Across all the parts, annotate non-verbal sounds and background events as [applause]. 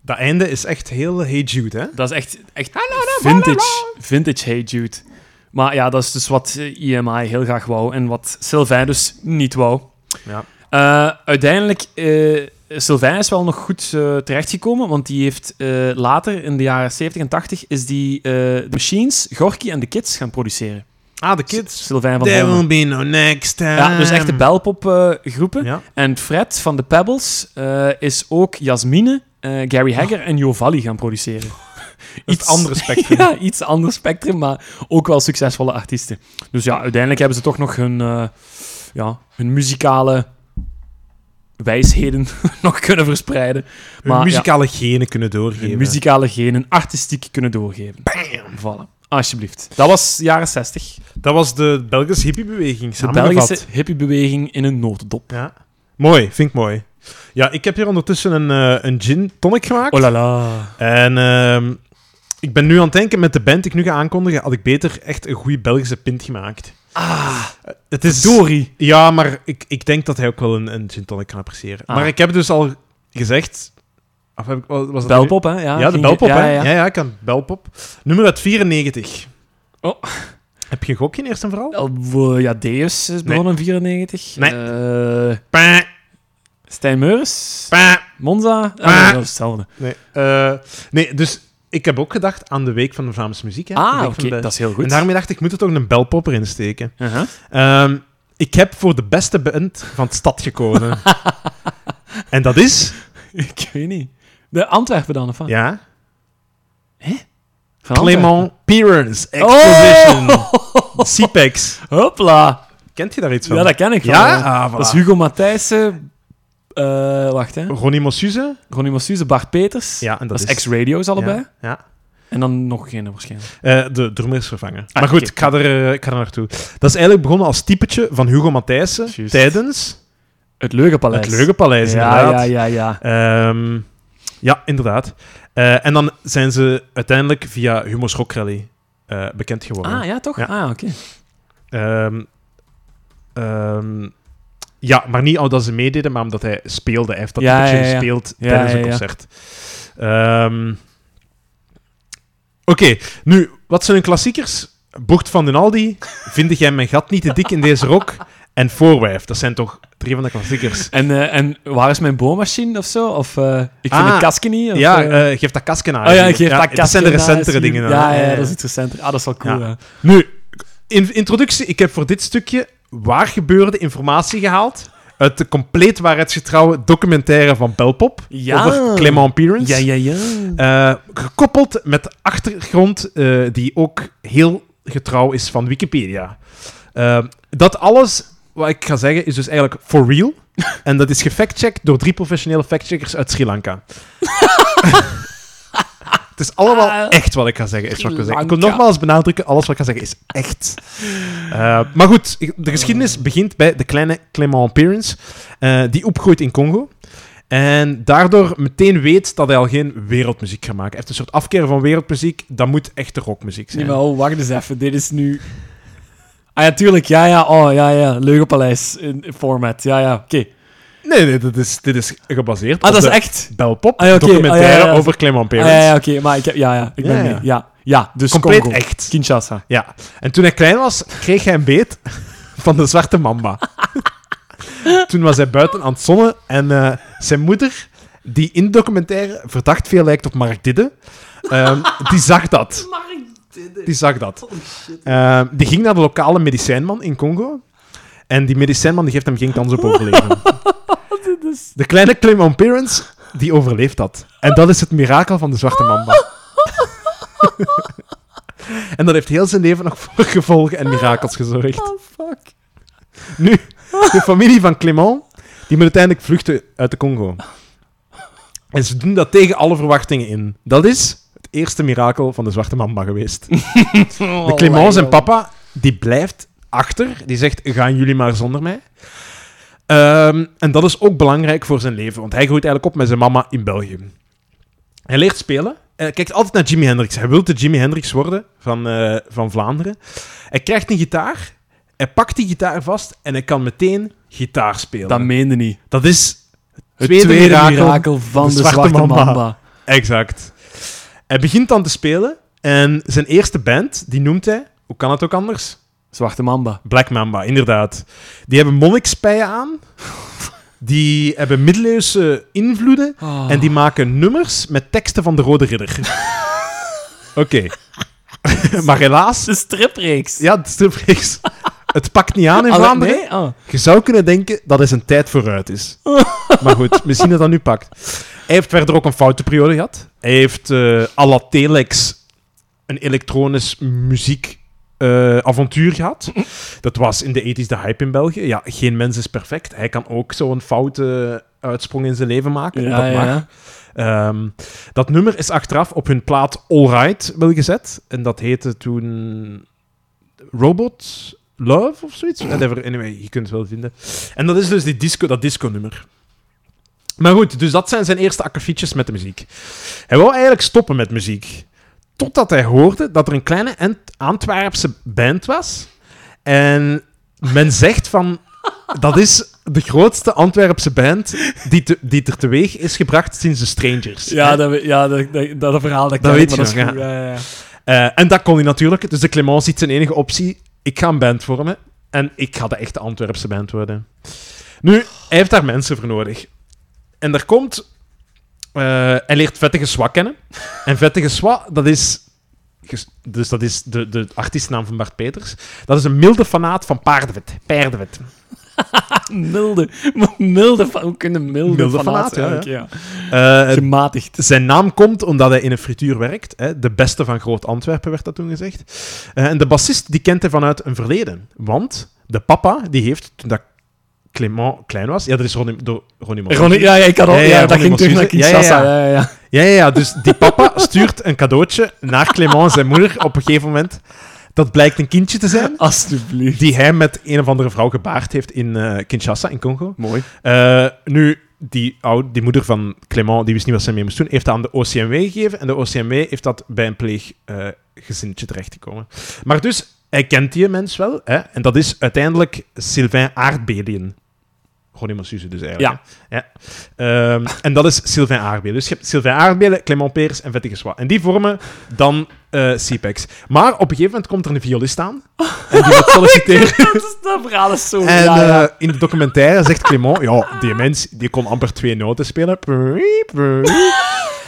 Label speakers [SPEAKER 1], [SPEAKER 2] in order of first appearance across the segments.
[SPEAKER 1] Dat einde is echt heel Hey Jude, hè?
[SPEAKER 2] Dat is echt, echt
[SPEAKER 1] Ah, nou,
[SPEAKER 2] vintage, vintage Hey Jude. Maar ja, dat is dus wat eh, EMI heel graag wou en wat Sylvain dus niet wou.
[SPEAKER 1] Ja.
[SPEAKER 2] Eh, uiteindelijk, eh Sylvain is wel nog goed eh, terechtgekomen, want die heeft eh, later, in de jaren 70 en 80, is die eh, de Machines, Gorky en de Kids gaan produceren.
[SPEAKER 1] Ah, de kids.
[SPEAKER 2] Sylvain van
[SPEAKER 1] There
[SPEAKER 2] Holmen.
[SPEAKER 1] will be no next time.
[SPEAKER 2] Ja, dus echt de belpopgroepen. groepen.
[SPEAKER 1] Ja.
[SPEAKER 2] En Fred van de Pebbles eh, is ook Jasmine, eh, Gary Hagger en Jovalli gaan [laughs] produceren.
[SPEAKER 1] Iets andere spectrum.
[SPEAKER 2] [laughs] ja, iets ander spectrum, maar ook wel succesvolle artiesten. Dus ja, uiteindelijk hebben ze toch nog hun, eh, ja, hun muzikale wijsheden [laughs] nog kunnen verspreiden.
[SPEAKER 1] Hun
[SPEAKER 2] Maar, ja,
[SPEAKER 1] muzikale genen kunnen
[SPEAKER 2] hun
[SPEAKER 1] doorgeven.
[SPEAKER 2] muzikale genen artistiek kunnen doorgeven. Bam! Vallen. Alsjeblieft. Dat was jaren 60.
[SPEAKER 1] Dat was de Belgische hippiebeweging
[SPEAKER 2] De
[SPEAKER 1] samengevat.
[SPEAKER 2] Belgische hippiebeweging in een notendop.
[SPEAKER 1] Ja. Mooi, vind ik mooi. Ja, ik heb hier ondertussen een, eh, een gin tonic gemaakt.
[SPEAKER 2] Oh la la.
[SPEAKER 1] En ehm, ik ben nu aan het denken, met de band die ik nu ga aankondigen, had ik beter echt een goede Belgische pint gemaakt.
[SPEAKER 2] Ah,
[SPEAKER 1] Het is...
[SPEAKER 2] Dori.
[SPEAKER 1] Ja, maar ik, ik denk dat hij ook wel een, een gin tonic kan appreciëren.
[SPEAKER 2] Ah.
[SPEAKER 1] Maar ik heb dus al gezegd... Of heb ik, was dat nu?
[SPEAKER 2] Belpop, hè? Ja,
[SPEAKER 1] Ja, de
[SPEAKER 2] ging-
[SPEAKER 1] belpop,
[SPEAKER 2] ja,
[SPEAKER 1] hè?
[SPEAKER 2] ja.
[SPEAKER 1] Ja, ja, ik kan belpop. Nummer uit 94.
[SPEAKER 2] Oh.
[SPEAKER 1] Heb je een gokje eerst en vooral?
[SPEAKER 2] Wel, w- Eh, Ja, Deus is begonnen in 94.
[SPEAKER 1] Nee.
[SPEAKER 2] Eh,
[SPEAKER 1] Pa,
[SPEAKER 2] Stijn Meuris.
[SPEAKER 1] pa.
[SPEAKER 2] Monza. Ah,
[SPEAKER 1] Ah.
[SPEAKER 2] nee, dat is hetzelfde.
[SPEAKER 1] Nee, eh, nee, dus ik heb ook gedacht aan de Week van de Vlaamse Muziek. Hè? De
[SPEAKER 2] Ah,
[SPEAKER 1] Week
[SPEAKER 2] oké.
[SPEAKER 1] van de-
[SPEAKER 2] Dat is heel goed.
[SPEAKER 1] En daarmee dacht ik, ik moet er toch een belpopper in steken. [laughs]
[SPEAKER 2] Uh-huh.
[SPEAKER 1] Ehm, ik heb voor de beste band van de stad
[SPEAKER 2] [laughs]
[SPEAKER 1] gekozen. en dat is...
[SPEAKER 2] Ik weet niet. De Antwerpen dan, of wat?
[SPEAKER 1] Ja,
[SPEAKER 2] Van
[SPEAKER 1] Clement Pierens
[SPEAKER 2] Antwerpen.
[SPEAKER 1] Exposition.
[SPEAKER 2] [laughs]
[SPEAKER 1] CPEX.
[SPEAKER 2] Oh, hopla.
[SPEAKER 1] Kent je daar iets van?
[SPEAKER 2] Ja, dat ken ik wel.
[SPEAKER 1] Ja? Ah, voilà.
[SPEAKER 2] Dat is Hugo Matthijssen. eh, wacht, hè.
[SPEAKER 1] Ronnie Mossuze.
[SPEAKER 2] Ronnie Massuze, Bart Peters.
[SPEAKER 1] Ja, en dat
[SPEAKER 2] dat is
[SPEAKER 1] is-
[SPEAKER 2] ex-radio's allebei.
[SPEAKER 1] Ja. ja.
[SPEAKER 2] En dan nog geen waarschijnlijk.
[SPEAKER 1] Eh, de drummer is vervangen. maar
[SPEAKER 2] Ah, oké.
[SPEAKER 1] goed, ik, ga er, eh, ik ga er naartoe. Dat is eigenlijk begonnen als typetje van Hugo Matthijssen
[SPEAKER 2] Juist.
[SPEAKER 1] tijdens
[SPEAKER 2] Het Leugenpaleis.
[SPEAKER 1] het Leugenpaleis,
[SPEAKER 2] Ja,
[SPEAKER 1] inderdaad.
[SPEAKER 2] ja, ja, ja.
[SPEAKER 1] Ehm, ja, inderdaad. Eh, en dan zijn ze uiteindelijk via Humo's Rock Rally eh, bekend geworden.
[SPEAKER 2] Ah, ja, toch?
[SPEAKER 1] Ja.
[SPEAKER 2] Ah, oké.
[SPEAKER 1] Ehm, ehm, ja, maar niet omdat ze meededen, maar omdat hij speelde. Hij heeft dat
[SPEAKER 2] Ja,
[SPEAKER 1] typetje
[SPEAKER 2] ja, ja.
[SPEAKER 1] gespeeld
[SPEAKER 2] Ja,
[SPEAKER 1] tijdens
[SPEAKER 2] ja,
[SPEAKER 1] een
[SPEAKER 2] ja.
[SPEAKER 1] concert. Ehm, Oké, nu, wat zijn hun klassiekers? Bocht van Dunaldi, Vind jij mijn gat niet te dik in deze rok? En Voorwijf, dat zijn toch drie van de klassiekers.
[SPEAKER 2] En, eh, en waar is mijn boommachine of zo? Of eh, ik vind
[SPEAKER 1] Ah,
[SPEAKER 2] het kastje niet? Of,
[SPEAKER 1] Ja,
[SPEAKER 2] eh,
[SPEAKER 1] eh, geef dat kasken aan.
[SPEAKER 2] oh ja, ik geef dat
[SPEAKER 1] dat
[SPEAKER 2] kastje.
[SPEAKER 1] zijn de
[SPEAKER 2] daar,
[SPEAKER 1] recentere
[SPEAKER 2] zie je.
[SPEAKER 1] dingen. dan,
[SPEAKER 2] Ja,
[SPEAKER 1] hè?
[SPEAKER 2] ja, dat is iets recenter. Ah, dat is wel cool.
[SPEAKER 1] Ja.
[SPEAKER 2] hè.
[SPEAKER 1] Nu, in introductie, ik heb voor dit stukje waar gebeurde informatie gehaald uit de compleet waarheidsgetrouwe documentaire van Belpop
[SPEAKER 2] Ja.
[SPEAKER 1] over Clement Pierens.
[SPEAKER 2] Ja, ja, ja.
[SPEAKER 1] Eh, gekoppeld met achtergrond eh, die ook heel getrouw is van Wikipedia. Eh, dat alles, wat ik ga zeggen, is dus eigenlijk for real.
[SPEAKER 2] [laughs]
[SPEAKER 1] en dat is gefactcheckt door drie professionele factcheckers uit Sri
[SPEAKER 2] [laughs]
[SPEAKER 1] Lanka. Het is allemaal
[SPEAKER 2] Ah,
[SPEAKER 1] echt wat ik ga zeggen. Is wat ik, wil zeggen. ik wil
[SPEAKER 2] Lanka.
[SPEAKER 1] nogmaals benadrukken, alles wat ik ga zeggen is echt. Eh, maar goed, ik- de geschiedenis begint bij de kleine Clement Perrins, eh, die opgroeit in Congo. En daardoor meteen weet dat hij al geen wereldmuziek gaat maken. Hij heeft een soort afkeer van wereldmuziek, dat moet echte rockmuziek zijn.
[SPEAKER 2] Nee, maar oh, wacht eens even. Dit is nu... Ah ja, tuurlijk. Ja, ja. Oh, ja, ja. Leugenpaleis in, in format. Ja, ja. Oké.
[SPEAKER 1] Nee, nee, dit is, dit is gebaseerd
[SPEAKER 2] Ah,
[SPEAKER 1] op
[SPEAKER 2] dat is
[SPEAKER 1] de
[SPEAKER 2] echt...
[SPEAKER 1] Belpop
[SPEAKER 2] Ah, ja, oké.
[SPEAKER 1] documentaire
[SPEAKER 2] Ah, ja, ja, ja.
[SPEAKER 1] over Clement
[SPEAKER 2] Ah,
[SPEAKER 1] Perrins.
[SPEAKER 2] ja, ja, oké. Maar ik heb... Ja, ja. Ik ben
[SPEAKER 1] Ja, ja.
[SPEAKER 2] mee. Ja. Ja, dus
[SPEAKER 1] Compleet
[SPEAKER 2] Congo.
[SPEAKER 1] echt.
[SPEAKER 2] Kinshasa.
[SPEAKER 1] Ja. En toen hij klein was, kreeg hij een beet van de zwarte mamba. toen was hij buiten aan het zonnen en eh, zijn moeder, die in de documentaire verdacht veel lijkt op Mark Didde, ehm, die zag dat. Die zag dat. Ehm, die ging naar de lokale medicijnman in Congo. En die medicijnman die geeft hem geen kans op overleven. De kleine Clement Parents, die overleeft dat. En dat is het mirakel van de zwarte mamba. En dat heeft heel zijn leven nog [laughs] voor gevolgen en mirakels gezorgd.
[SPEAKER 2] Oh, fuck.
[SPEAKER 1] Nu, de familie van Clement, die moet uiteindelijk vluchten uit de Congo. En ze doen dat tegen alle verwachtingen in. Dat is het eerste mirakel van de zwarte mamba geweest.
[SPEAKER 2] Oh,
[SPEAKER 1] De Clemens en papa, die blijft achter. Die zegt, gaan jullie maar zonder mij. Ehm, en dat is ook belangrijk voor zijn leven, want hij groeit eigenlijk op met zijn mama in België. Hij leert spelen. Hij kijkt altijd naar Jimi Hendrix. Hij wil de Jimi Hendrix worden van, eh, van Vlaanderen. Hij krijgt een gitaar. Hij pakt die gitaar vast en hij kan meteen gitaar spelen.
[SPEAKER 2] Dat meende niet.
[SPEAKER 1] Dat is
[SPEAKER 2] Het
[SPEAKER 1] tweede
[SPEAKER 2] tweede,
[SPEAKER 1] mirakel
[SPEAKER 2] mirakel van de zwarte, mamba.
[SPEAKER 1] Exact. Hij begint dan te spelen en zijn eerste band, die noemt hij, hoe kan het ook anders?
[SPEAKER 2] Zwarte Mamba.
[SPEAKER 1] Black Mamba, inderdaad. Die hebben monnikspijen aan, die hebben middeleeuwse invloeden en die maken nummers met teksten van de Rode Ridder. Oké. [laughs] maar helaas,
[SPEAKER 2] de stripreeks.
[SPEAKER 1] ja, het, stripreeks, het pakt niet aan in
[SPEAKER 2] Alle-
[SPEAKER 1] Vlaanderen.
[SPEAKER 2] nee? Ah.
[SPEAKER 1] Je zou kunnen denken dat hij zijn tijd vooruit
[SPEAKER 2] [laughs]
[SPEAKER 1] is. maar goed, misschien dat dat nu pakt. Hij heeft verder ook een foutenperiode gehad. Hij heeft eh à la Telex een elektronisch muziek eh, avontuur gehad. Dat was in de 80s de hype in België. Ja, geen mens is perfect. Hij kan ook zo'n foute eh, uitsprong in zijn leven maken. en
[SPEAKER 2] Ja,
[SPEAKER 1] dat mag.
[SPEAKER 2] ja.
[SPEAKER 1] Ehm, dat nummer is achteraf op hun plaat All Right wel gezet. En dat heette toen Robot Love of zoiets. Whatever. Anyway, je kunt het wel vinden. En dat is dus die disco, dat disco-nummer. Maar goed, dus dat zijn zijn eerste akkefietjes met de muziek. Hij wou eigenlijk stoppen met muziek. Totdat hij hoorde dat er een kleine Ant- Antwerpse band was. En men zegt van... Dat is de grootste Antwerpse band die, te- die er teweeg is gebracht sinds de Strangers.
[SPEAKER 2] Ja, dat, we- ja dat, dat, dat verhaal dat,
[SPEAKER 1] Dat
[SPEAKER 2] ken ik,
[SPEAKER 1] weet
[SPEAKER 2] maar
[SPEAKER 1] je
[SPEAKER 2] dat is
[SPEAKER 1] nog,
[SPEAKER 2] goed. Ja, ja, ja.
[SPEAKER 1] Eh, en dat kon hij natuurlijk. Dus de Clemence ziet zijn enige optie. Ik ga een band vormen. En ik ga de echte Antwerpse band worden. Nu, hij heeft daar mensen voor nodig. En daar komt... eh, hij leert Vettige Swa kennen. En Vettige Swa, dat is... ges- Dus dat is de, de artiestnaam van Bart Peters. Dat is een milde fanaat van paardenvet. Paardenvet.
[SPEAKER 2] Milde. [laughs] Milde van... Hoe kunnen milde,
[SPEAKER 1] Milde
[SPEAKER 2] van
[SPEAKER 1] fanaat, ja,
[SPEAKER 2] eigenlijk, ja.
[SPEAKER 1] Eh,
[SPEAKER 2] Gematigd.
[SPEAKER 1] Zijn naam komt omdat hij in een frituur werkt. Hè. De beste van Groot-Antwerpen werd dat toen gezegd. Eh, en de bassist die kent hij vanuit een verleden. Want de papa, die heeft toen dat Clement klein was... Ja, dat is Ronnie, door Ronnie Mos-
[SPEAKER 2] Ronnie, ja, ja, ik had al...
[SPEAKER 1] Ja,
[SPEAKER 2] Ja,
[SPEAKER 1] ja,
[SPEAKER 2] dat
[SPEAKER 1] Ronnie
[SPEAKER 2] ging terug naar
[SPEAKER 1] Mossuze. Ja, ja,
[SPEAKER 2] Kinshasa.
[SPEAKER 1] ja.
[SPEAKER 2] Ja, ja, ja.
[SPEAKER 1] Ja, ja, ja, dus die papa [laughs] stuurt een cadeautje naar Clement, zijn moeder, op een gegeven moment. Dat blijkt een kindje te
[SPEAKER 2] Oh.
[SPEAKER 1] zijn, [laughs]
[SPEAKER 2] Alsjeblieft.
[SPEAKER 1] die hij met een of andere vrouw gebaard heeft in eh, Kinshasa, in Congo.
[SPEAKER 2] Mooi.
[SPEAKER 1] Eh, nu, die, oude, die moeder van Clement, die wist niet wat ze mee moest doen, heeft dat aan de OCMW gegeven. En de OCMW heeft dat bij een pleeggezinnetje terechtgekomen. Maar dus, hij kent die mens wel. Hè? En dat is uiteindelijk Sylvain Aardbelien. Ronnie Massuze dus eigenlijk. hè. Ja. Ehm, en dat is Sylvain Aardbelien. Dus je hebt Sylvain Aardbelien, Clement Peers en Vettige Swa. En die vormen dan eh CPEX. Maar op een gegeven moment komt er een violist aan. En die wordt solliciteren.
[SPEAKER 2] dat, is, dat verhaal is zo...
[SPEAKER 1] En
[SPEAKER 2] ja, ja.
[SPEAKER 1] eh, in de documentaire zegt Clement, ja, die mens die kon amper twee noten spelen.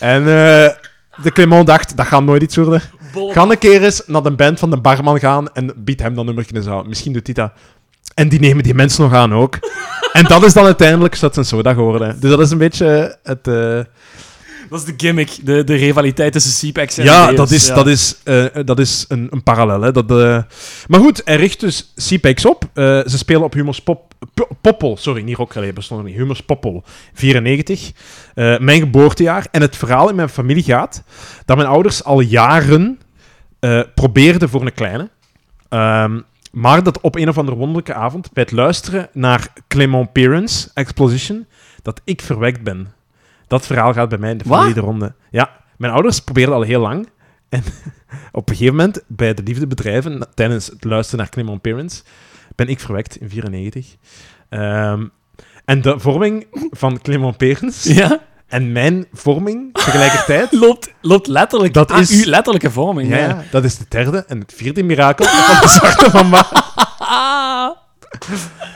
[SPEAKER 1] En eh, de Clement dacht, dat gaat nooit iets worden.
[SPEAKER 2] Bolle-
[SPEAKER 1] Ga een keer eens naar de band van de barman gaan en bied hem dat nummertje eens aan. Misschien doet hij dat. En die nemen die mensen nog aan ook. En dat is dan uiteindelijk Suts en Soda geworden. Dus dat is een beetje het... eh,
[SPEAKER 2] Dat is de gimmick. De, de rivaliteit tussen CPEX en
[SPEAKER 1] ja,
[SPEAKER 2] Deus,
[SPEAKER 1] dat is,
[SPEAKER 2] ja.
[SPEAKER 1] Dat is, eh, dat is een, een parallel. Hè. Dat, eh, Maar goed, hij richt dus CPEX op. Eh, ze spelen op Humus Pop... P- Poppel, sorry, niet Rockrally, bestond nog niet. Humus Poppel, 94. Eh, mijn geboortejaar. En het verhaal in mijn familie gaat dat mijn ouders al jaren eh, probeerden voor een kleine. Ehm, maar dat op een of andere wonderlijke avond, bij het luisteren naar Clement Perrins Exposition, dat ik verwekt ben. Dat verhaal gaat bij mij in de
[SPEAKER 2] Wat?
[SPEAKER 1] familie de ronde. Ja, mijn ouders probeerden al heel lang. En [laughs] op een gegeven moment, bij de liefdebedrijven, na- tijdens het luisteren naar Clement Perrins, ben ik verwekt in 94. Ehm, en de vorming van Clement Perrins
[SPEAKER 2] Ja, [laughs]
[SPEAKER 1] en mijn vorming tegelijkertijd
[SPEAKER 2] loopt, loopt letterlijk.
[SPEAKER 1] Dat
[SPEAKER 2] Dat
[SPEAKER 1] is-
[SPEAKER 2] is... uw letterlijke vorming.
[SPEAKER 1] Ja,
[SPEAKER 2] Ja.
[SPEAKER 1] ja, dat is de derde en het vierde mirakel van de [laughs] zwarte mama.
[SPEAKER 2] Ah. [laughs]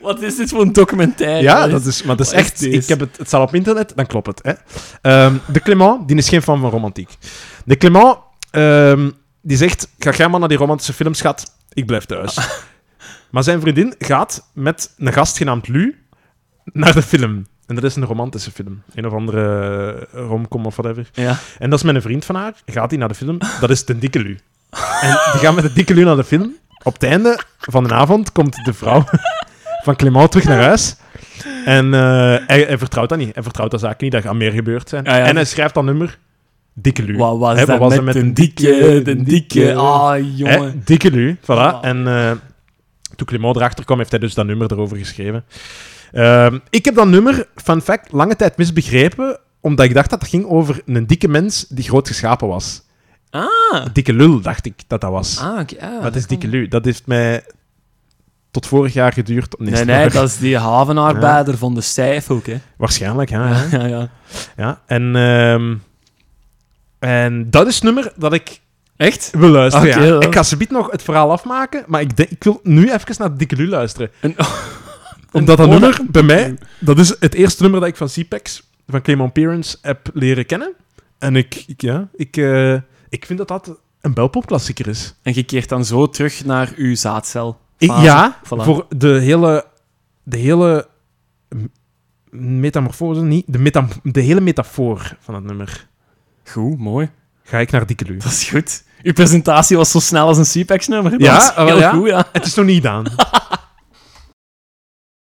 [SPEAKER 2] Wat is dit voor een documentaire?
[SPEAKER 1] Ja, dat is, maar dat is
[SPEAKER 2] wat is
[SPEAKER 1] echt...
[SPEAKER 2] dit?
[SPEAKER 1] Ik heb het, het staat op internet, dan klopt het. Hè. Ehm, de Clément, die is geen fan van romantiek. De Clément, ehm, die zegt, ga jij maar naar die romantische films, schat. Ik blijf thuis. Maar zijn vriendin gaat met een gast genaamd Lu naar de film. En dat is een romantische film. Een of andere eh, romcom of whatever.
[SPEAKER 2] Ja.
[SPEAKER 1] En dat is met een vriend van haar. Gaat hij naar de film? Dat is de dikke Lu. En die gaan met de dikke Lu naar de film. Op het einde van de avond komt de vrouw [laughs] van Clément terug naar huis. En eh, hij, hij vertrouwt dat niet. Hij vertrouwt dat zaak niet. Dat gaat meer gebeurd zijn.
[SPEAKER 2] Ah Ja, ja.
[SPEAKER 1] En hij schrijft dat nummer. Dikke Lu.
[SPEAKER 2] Wat was
[SPEAKER 1] Hè,
[SPEAKER 2] dat
[SPEAKER 1] was
[SPEAKER 2] met,
[SPEAKER 1] er met
[SPEAKER 2] een
[SPEAKER 1] een
[SPEAKER 2] dikke,
[SPEAKER 1] dikke-
[SPEAKER 2] de dikke... Ah,
[SPEAKER 1] Hè,
[SPEAKER 2] jongen.
[SPEAKER 1] dikke Lu. Voilà.
[SPEAKER 2] Ah.
[SPEAKER 1] En eh, toen Clément erachter kwam, heeft hij dus dat nummer erover geschreven. Ehm, ik heb dat nummer, fun fact, lange tijd misbegrepen. Omdat ik dacht dat het ging over een dikke mens die groot geschapen was.
[SPEAKER 2] Ah.
[SPEAKER 1] Dikke lul, dacht ik dat dat was.
[SPEAKER 2] Ah, oké. ah,
[SPEAKER 1] maar het is
[SPEAKER 2] dat
[SPEAKER 1] dikke lu. Dat heeft mij tot vorig jaar geduurd. Nee, [laughs]
[SPEAKER 2] Nee,
[SPEAKER 1] is
[SPEAKER 2] nee,
[SPEAKER 1] waar.
[SPEAKER 2] dat is die havenarbeider van de stijf ook, hè.
[SPEAKER 1] Waarschijnlijk, ja. Ah, ja.
[SPEAKER 2] Ja, [laughs] ja, ja.
[SPEAKER 1] Ja, en, ehm, en dat is het nummer dat ik
[SPEAKER 2] Echt?
[SPEAKER 1] wil luisteren.
[SPEAKER 2] Oké,
[SPEAKER 1] ja.
[SPEAKER 2] ja.
[SPEAKER 1] Ik ga ze nog het verhaal afmaken, maar ik, denk, ik wil nu even naar Dikke Lu luisteren.
[SPEAKER 2] [laughs] Een-
[SPEAKER 1] Omdat dat
[SPEAKER 2] Een-
[SPEAKER 1] nummer bij mij, dat is het eerste nummer dat ik van CPEX, van Clement Perens, heb leren kennen. En ik, ik, ja, ik, eh, ik vind dat dat een belpopklassieker is.
[SPEAKER 2] En je keert dan zo terug naar uw zaadcel.
[SPEAKER 1] Ik-
[SPEAKER 2] Fase.
[SPEAKER 1] ja,
[SPEAKER 2] Voilà.
[SPEAKER 1] voor de hele, de hele m- metamorfose, niet, de, metam, de hele metafoor van het nummer.
[SPEAKER 2] Goed, mooi.
[SPEAKER 1] Ga ik naar Dikke Lu.
[SPEAKER 2] Dat is goed. Uw presentatie was zo snel als een CPAX-nummer.
[SPEAKER 1] Ja, ah,
[SPEAKER 2] heel
[SPEAKER 1] wel ja.
[SPEAKER 2] goed, ja.
[SPEAKER 1] Het is nog niet gedaan.